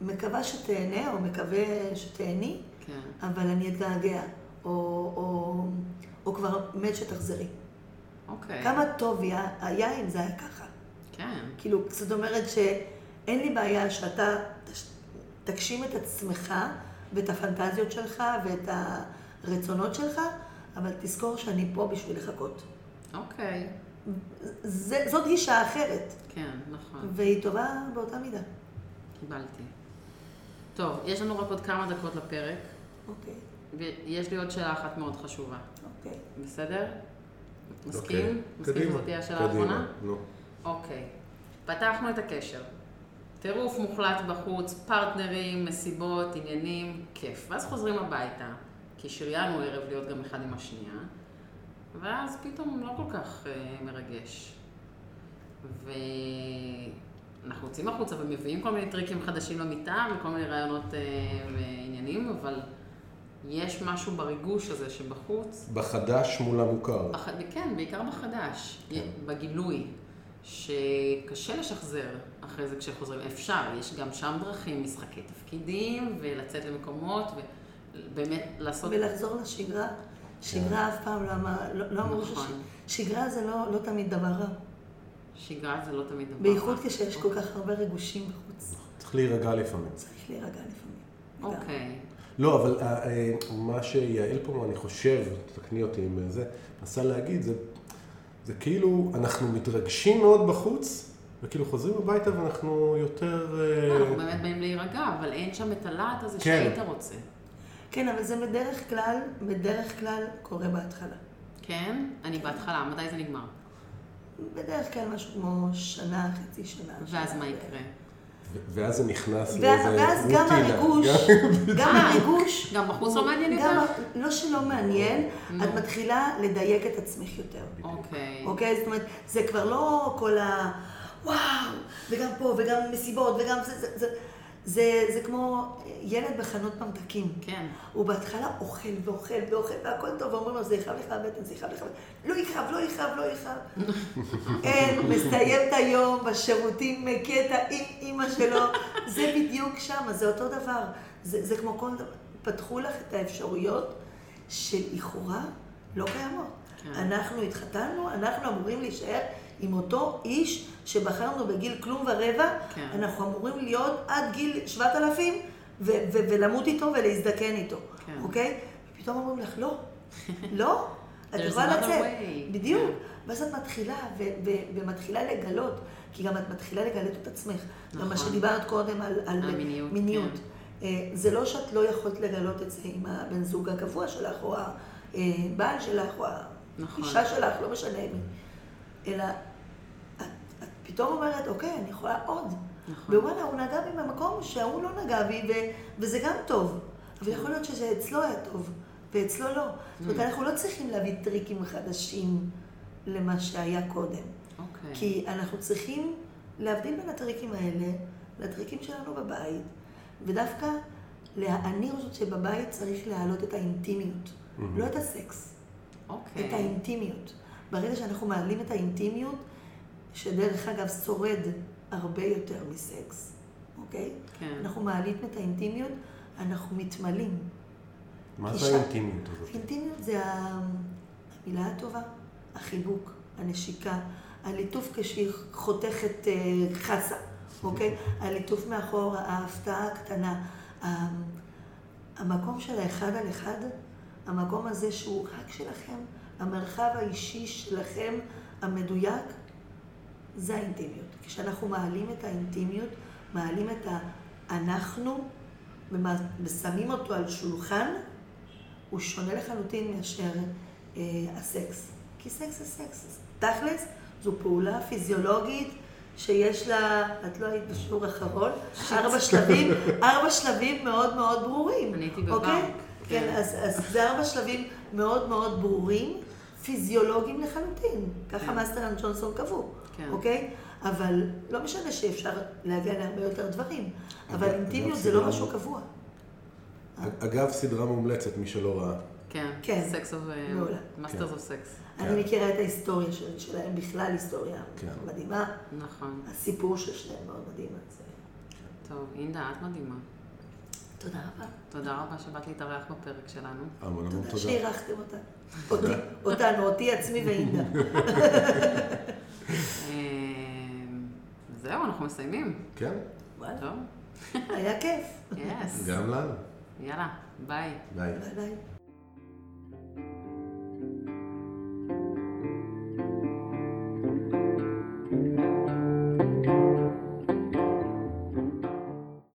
S4: מקווה שתהנה או מקווה שתהני,
S1: כן.
S4: אבל אני אתגעגע, או, או, או כבר מת שתחזרי.
S1: אוקיי.
S4: כמה טוב היה, היה אם זה היה ככה.
S1: כן.
S4: כאילו, זאת אומרת שאין לי בעיה שאתה תש- תגשים את עצמך ואת הפנטזיות שלך ואת הרצונות שלך, אבל תזכור שאני פה בשביל לחכות.
S1: אוקיי.
S4: זה, זאת גישה אחרת,
S1: כן, נכון.
S4: והיא טובה באותה מידה.
S1: קיבלתי. טוב, יש לנו רק עוד כמה דקות לפרק,
S4: אוקיי,
S1: ויש לי עוד שאלה אחת מאוד חשובה.
S4: אוקיי.
S1: בסדר? מסכים?
S3: אוקיי.
S1: מסכים
S3: קדימה,
S1: שזאת תהיה השאלה
S3: קדימה,
S1: האחרונה?
S3: נו.
S1: אוקיי. פתחנו את הקשר. טירוף מוחלט בחוץ, פרטנרים, מסיבות, עניינים, כיף. ואז חוזרים הביתה, כי שריינו ערב להיות גם אחד עם השנייה, ואז פתאום לא כל כך אה, מרגש. ואנחנו יוצאים החוצה ומביאים כל מיני טריקים חדשים למיטה וכל מיני רעיונות אה, ועניינים, אבל יש משהו בריגוש הזה שבחוץ,
S3: בחדש מול המוכר.
S1: בח... כן, בעיקר בחדש,
S3: כן.
S1: בגילוי, שקשה לשחזר אחרי זה כשחוזרים. אפשר, יש גם שם דרכים, משחקי תפקידים, ולצאת למקומות, ובאמת לעשות...
S4: ולחזור לשגרה, שגרה אף פעם לא אמר- לא- לא אמרו
S1: אה. נכון.
S4: ששגרה זה לא לא תמיד דבר רע.
S1: שגרה זה לא תמיד דבר.
S4: בייחוד
S1: רע.
S4: כשיש כל כך הרבה ריגושים בחוץ.
S3: צריך להירגע לפעמים.
S4: צריך להירגע לפעמים. לגמרי.
S1: אוקיי.
S3: לא, אבל אה, אה, מה שיעל פה, אני חושב, תקני אותי עם זה, מנסה להגיד, זה, זה כאילו, אנחנו מתרגשים מאוד בחוץ, וכאילו חוזרים הביתה ואנחנו יותר... אה,
S4: לא,
S1: אנחנו באמת באים להירגע, אבל אין שם את הלהט הזה
S3: כן.
S1: שהיית רוצה.
S4: כן, אבל זה בדרך כלל, בדרך כלל קורה בהתחלה.
S1: כן? אני בהתחלה, מתי זה נגמר?
S4: בדרך כלל משהו כמו שנה, חצי שנה.
S1: ואז
S4: שנה.
S1: מה יקרה?
S3: ו- ואז זה נכנס
S4: ואז, ואז גם
S3: [LAUGHS]
S4: הריגוש, גם
S1: אה,
S4: הריגוש,
S1: גם בחוץ לא
S4: הוא-
S1: מעניין
S4: גם
S1: יותר? Mm.
S4: ה- לא שלא מעניין,
S1: נו.
S4: את מתחילה לדייק את עצמך יותר.
S1: אוקיי.
S4: אוקיי? זאת אומרת, זה כבר לא כל ה... וואו, וגם פה, וגם מסיבות, וגם זה... זה, זה, זה, זה כמו ילד בחנות ממתקים.
S1: כן.
S4: הוא בהתחלה אוכל ואוכל ואוכל והכל טוב, ואומרים לו, זה יכאב לך הבטן, זה יכאב לך הבטן. לא יכאב, לא יכאב, לא יכאב. אין, מסיים את היום בשירותים, מקטע עם אימא שלו. זה בדיוק שמה, זה אותו דבר. זה, זה כמו כל דבר. פתחו לך את האפשרויות שלכאורה לא קיימות.
S1: כן.
S4: אנחנו התחתנו, אנחנו אמורים להישאר עם אותו איש שבחרנו בגיל כלום ורבע,
S1: כן.
S4: אנחנו אמורים להיות עד גיל 7,000 ו- ו- ולמות איתו ולהזדקן איתו,
S1: כן.
S4: אוקיי? ופתאום אומרים לך, לא, לא, את
S1: There's
S4: יכולה
S1: another
S4: לצאת.
S1: way.
S4: בדיוק.
S1: כן.
S4: ואז את מתחילה, ו- ו- ומתחילה לגלות, כי גם את מתחילה לגלות את עצמך. גם מה
S1: נכון.
S4: שדיברת קודם על, על
S1: המיניות,
S4: מיניות.
S1: כן.
S4: אה, זה לא שאת לא יכולת לגלות את זה עם הבן זוג הקבוע שלך, או הבעל שלך, או
S1: נכון.
S4: האישה שלך, לא משנה מי. אלא את, את פתאום אומרת, אוקיי, אני יכולה עוד.
S1: נכון.
S4: ווואלה, הוא נגע בי במקום שההוא לא נגע בי, ו- וזה גם טוב. אבל יכול להיות שזה אצלו היה טוב, ואצלו לא. זאת אומרת, אנחנו לא צריכים להביא טריקים חדשים למה שהיה קודם.
S1: אוקיי.
S4: כי אנחנו צריכים להבדיל בין הטריקים האלה לטריקים שלנו בבית, ודווקא, לה- אני חושבת שבבית צריך להעלות את האינטימיות,
S3: Mm.
S4: לא את הסקס, את
S1: אוקיי.
S4: האינטימיות. ברגע שאנחנו מעלים את האינטימיות, שדרך אגב שורד הרבה יותר מסקס, אוקיי?
S1: כן.
S4: אנחנו מעלים את האינטימיות, אנחנו מתמלאים.
S3: מה
S4: אישה.
S3: זה האינטימיות הזאת?
S4: אינטימיות זה ה- המילה הטובה, החיבוק, הנשיקה, הליטוף כשהיא חותכת אה, חסה, אוקיי? הליטוף מאחור, ההפתעה הקטנה, ה- המקום של האחד על אחד, המקום הזה שהוא רק שלכם, המרחב האישי שלכם, המדויק, זה האינטימיות. כשאנחנו מעלים את האינטימיות, מעלים את ה"אנחנו", ומע- ושמים אותו על שולחן, הוא שונה לחלוטין מאשר אה, הסקס. כי סקס זה סקס. אז תכלס, זו פעולה פיזיולוגית שיש לה, את לא היית בשיעור האחרון, ארבע שלבים, ארבע שלבים מאוד מאוד ברורים.
S1: אני הייתי בבר.
S4: אוקיי?
S1: כן.
S4: כן, אז, אז זה ארבע שלבים מאוד מאוד ברורים, פיזיולוגיים לחלוטין. ככה
S1: כן.
S4: מאסטר אנד ג'ונסון קבעו,
S1: כן.
S4: אוקיי? אבל לא משנה שאפשר להגיע להרבה יותר דברים, אבל
S3: אגב,
S4: אינטימיות
S3: אגב,
S4: זה לא
S3: סדרה-
S4: משהו קבוע. אה.
S3: אגב, סדרה מומלצת, מי שלא ראה.
S1: כן.
S4: כן.
S1: סקס אוף...
S4: מעולה.
S1: מאסטרס אוף סקס.
S4: אני מכירה את ההיסטוריה של- שלהם, בכלל היסטוריה
S3: כן.
S4: מדהימה.
S1: נכון.
S4: הסיפור של שניהם מאוד מדהים, אז אה,
S1: טוב, אינדה, את מדהימה.
S4: תודה רבה.
S1: תודה רבה שבאת להתארח בפרק שלנו.
S3: המון המון
S4: תודה
S3: תודה.
S4: שאירחתם אותנו. אותי- אותנו, אותי עצמי ואינדה.
S1: אמ, זהו, אנחנו מסיימים.
S3: כן,
S4: וואלה,
S1: טוב?
S4: היה כיף.
S1: יס.
S3: גם לנו.
S1: יאללה, ביי.
S3: ביי.
S4: ביי ביי.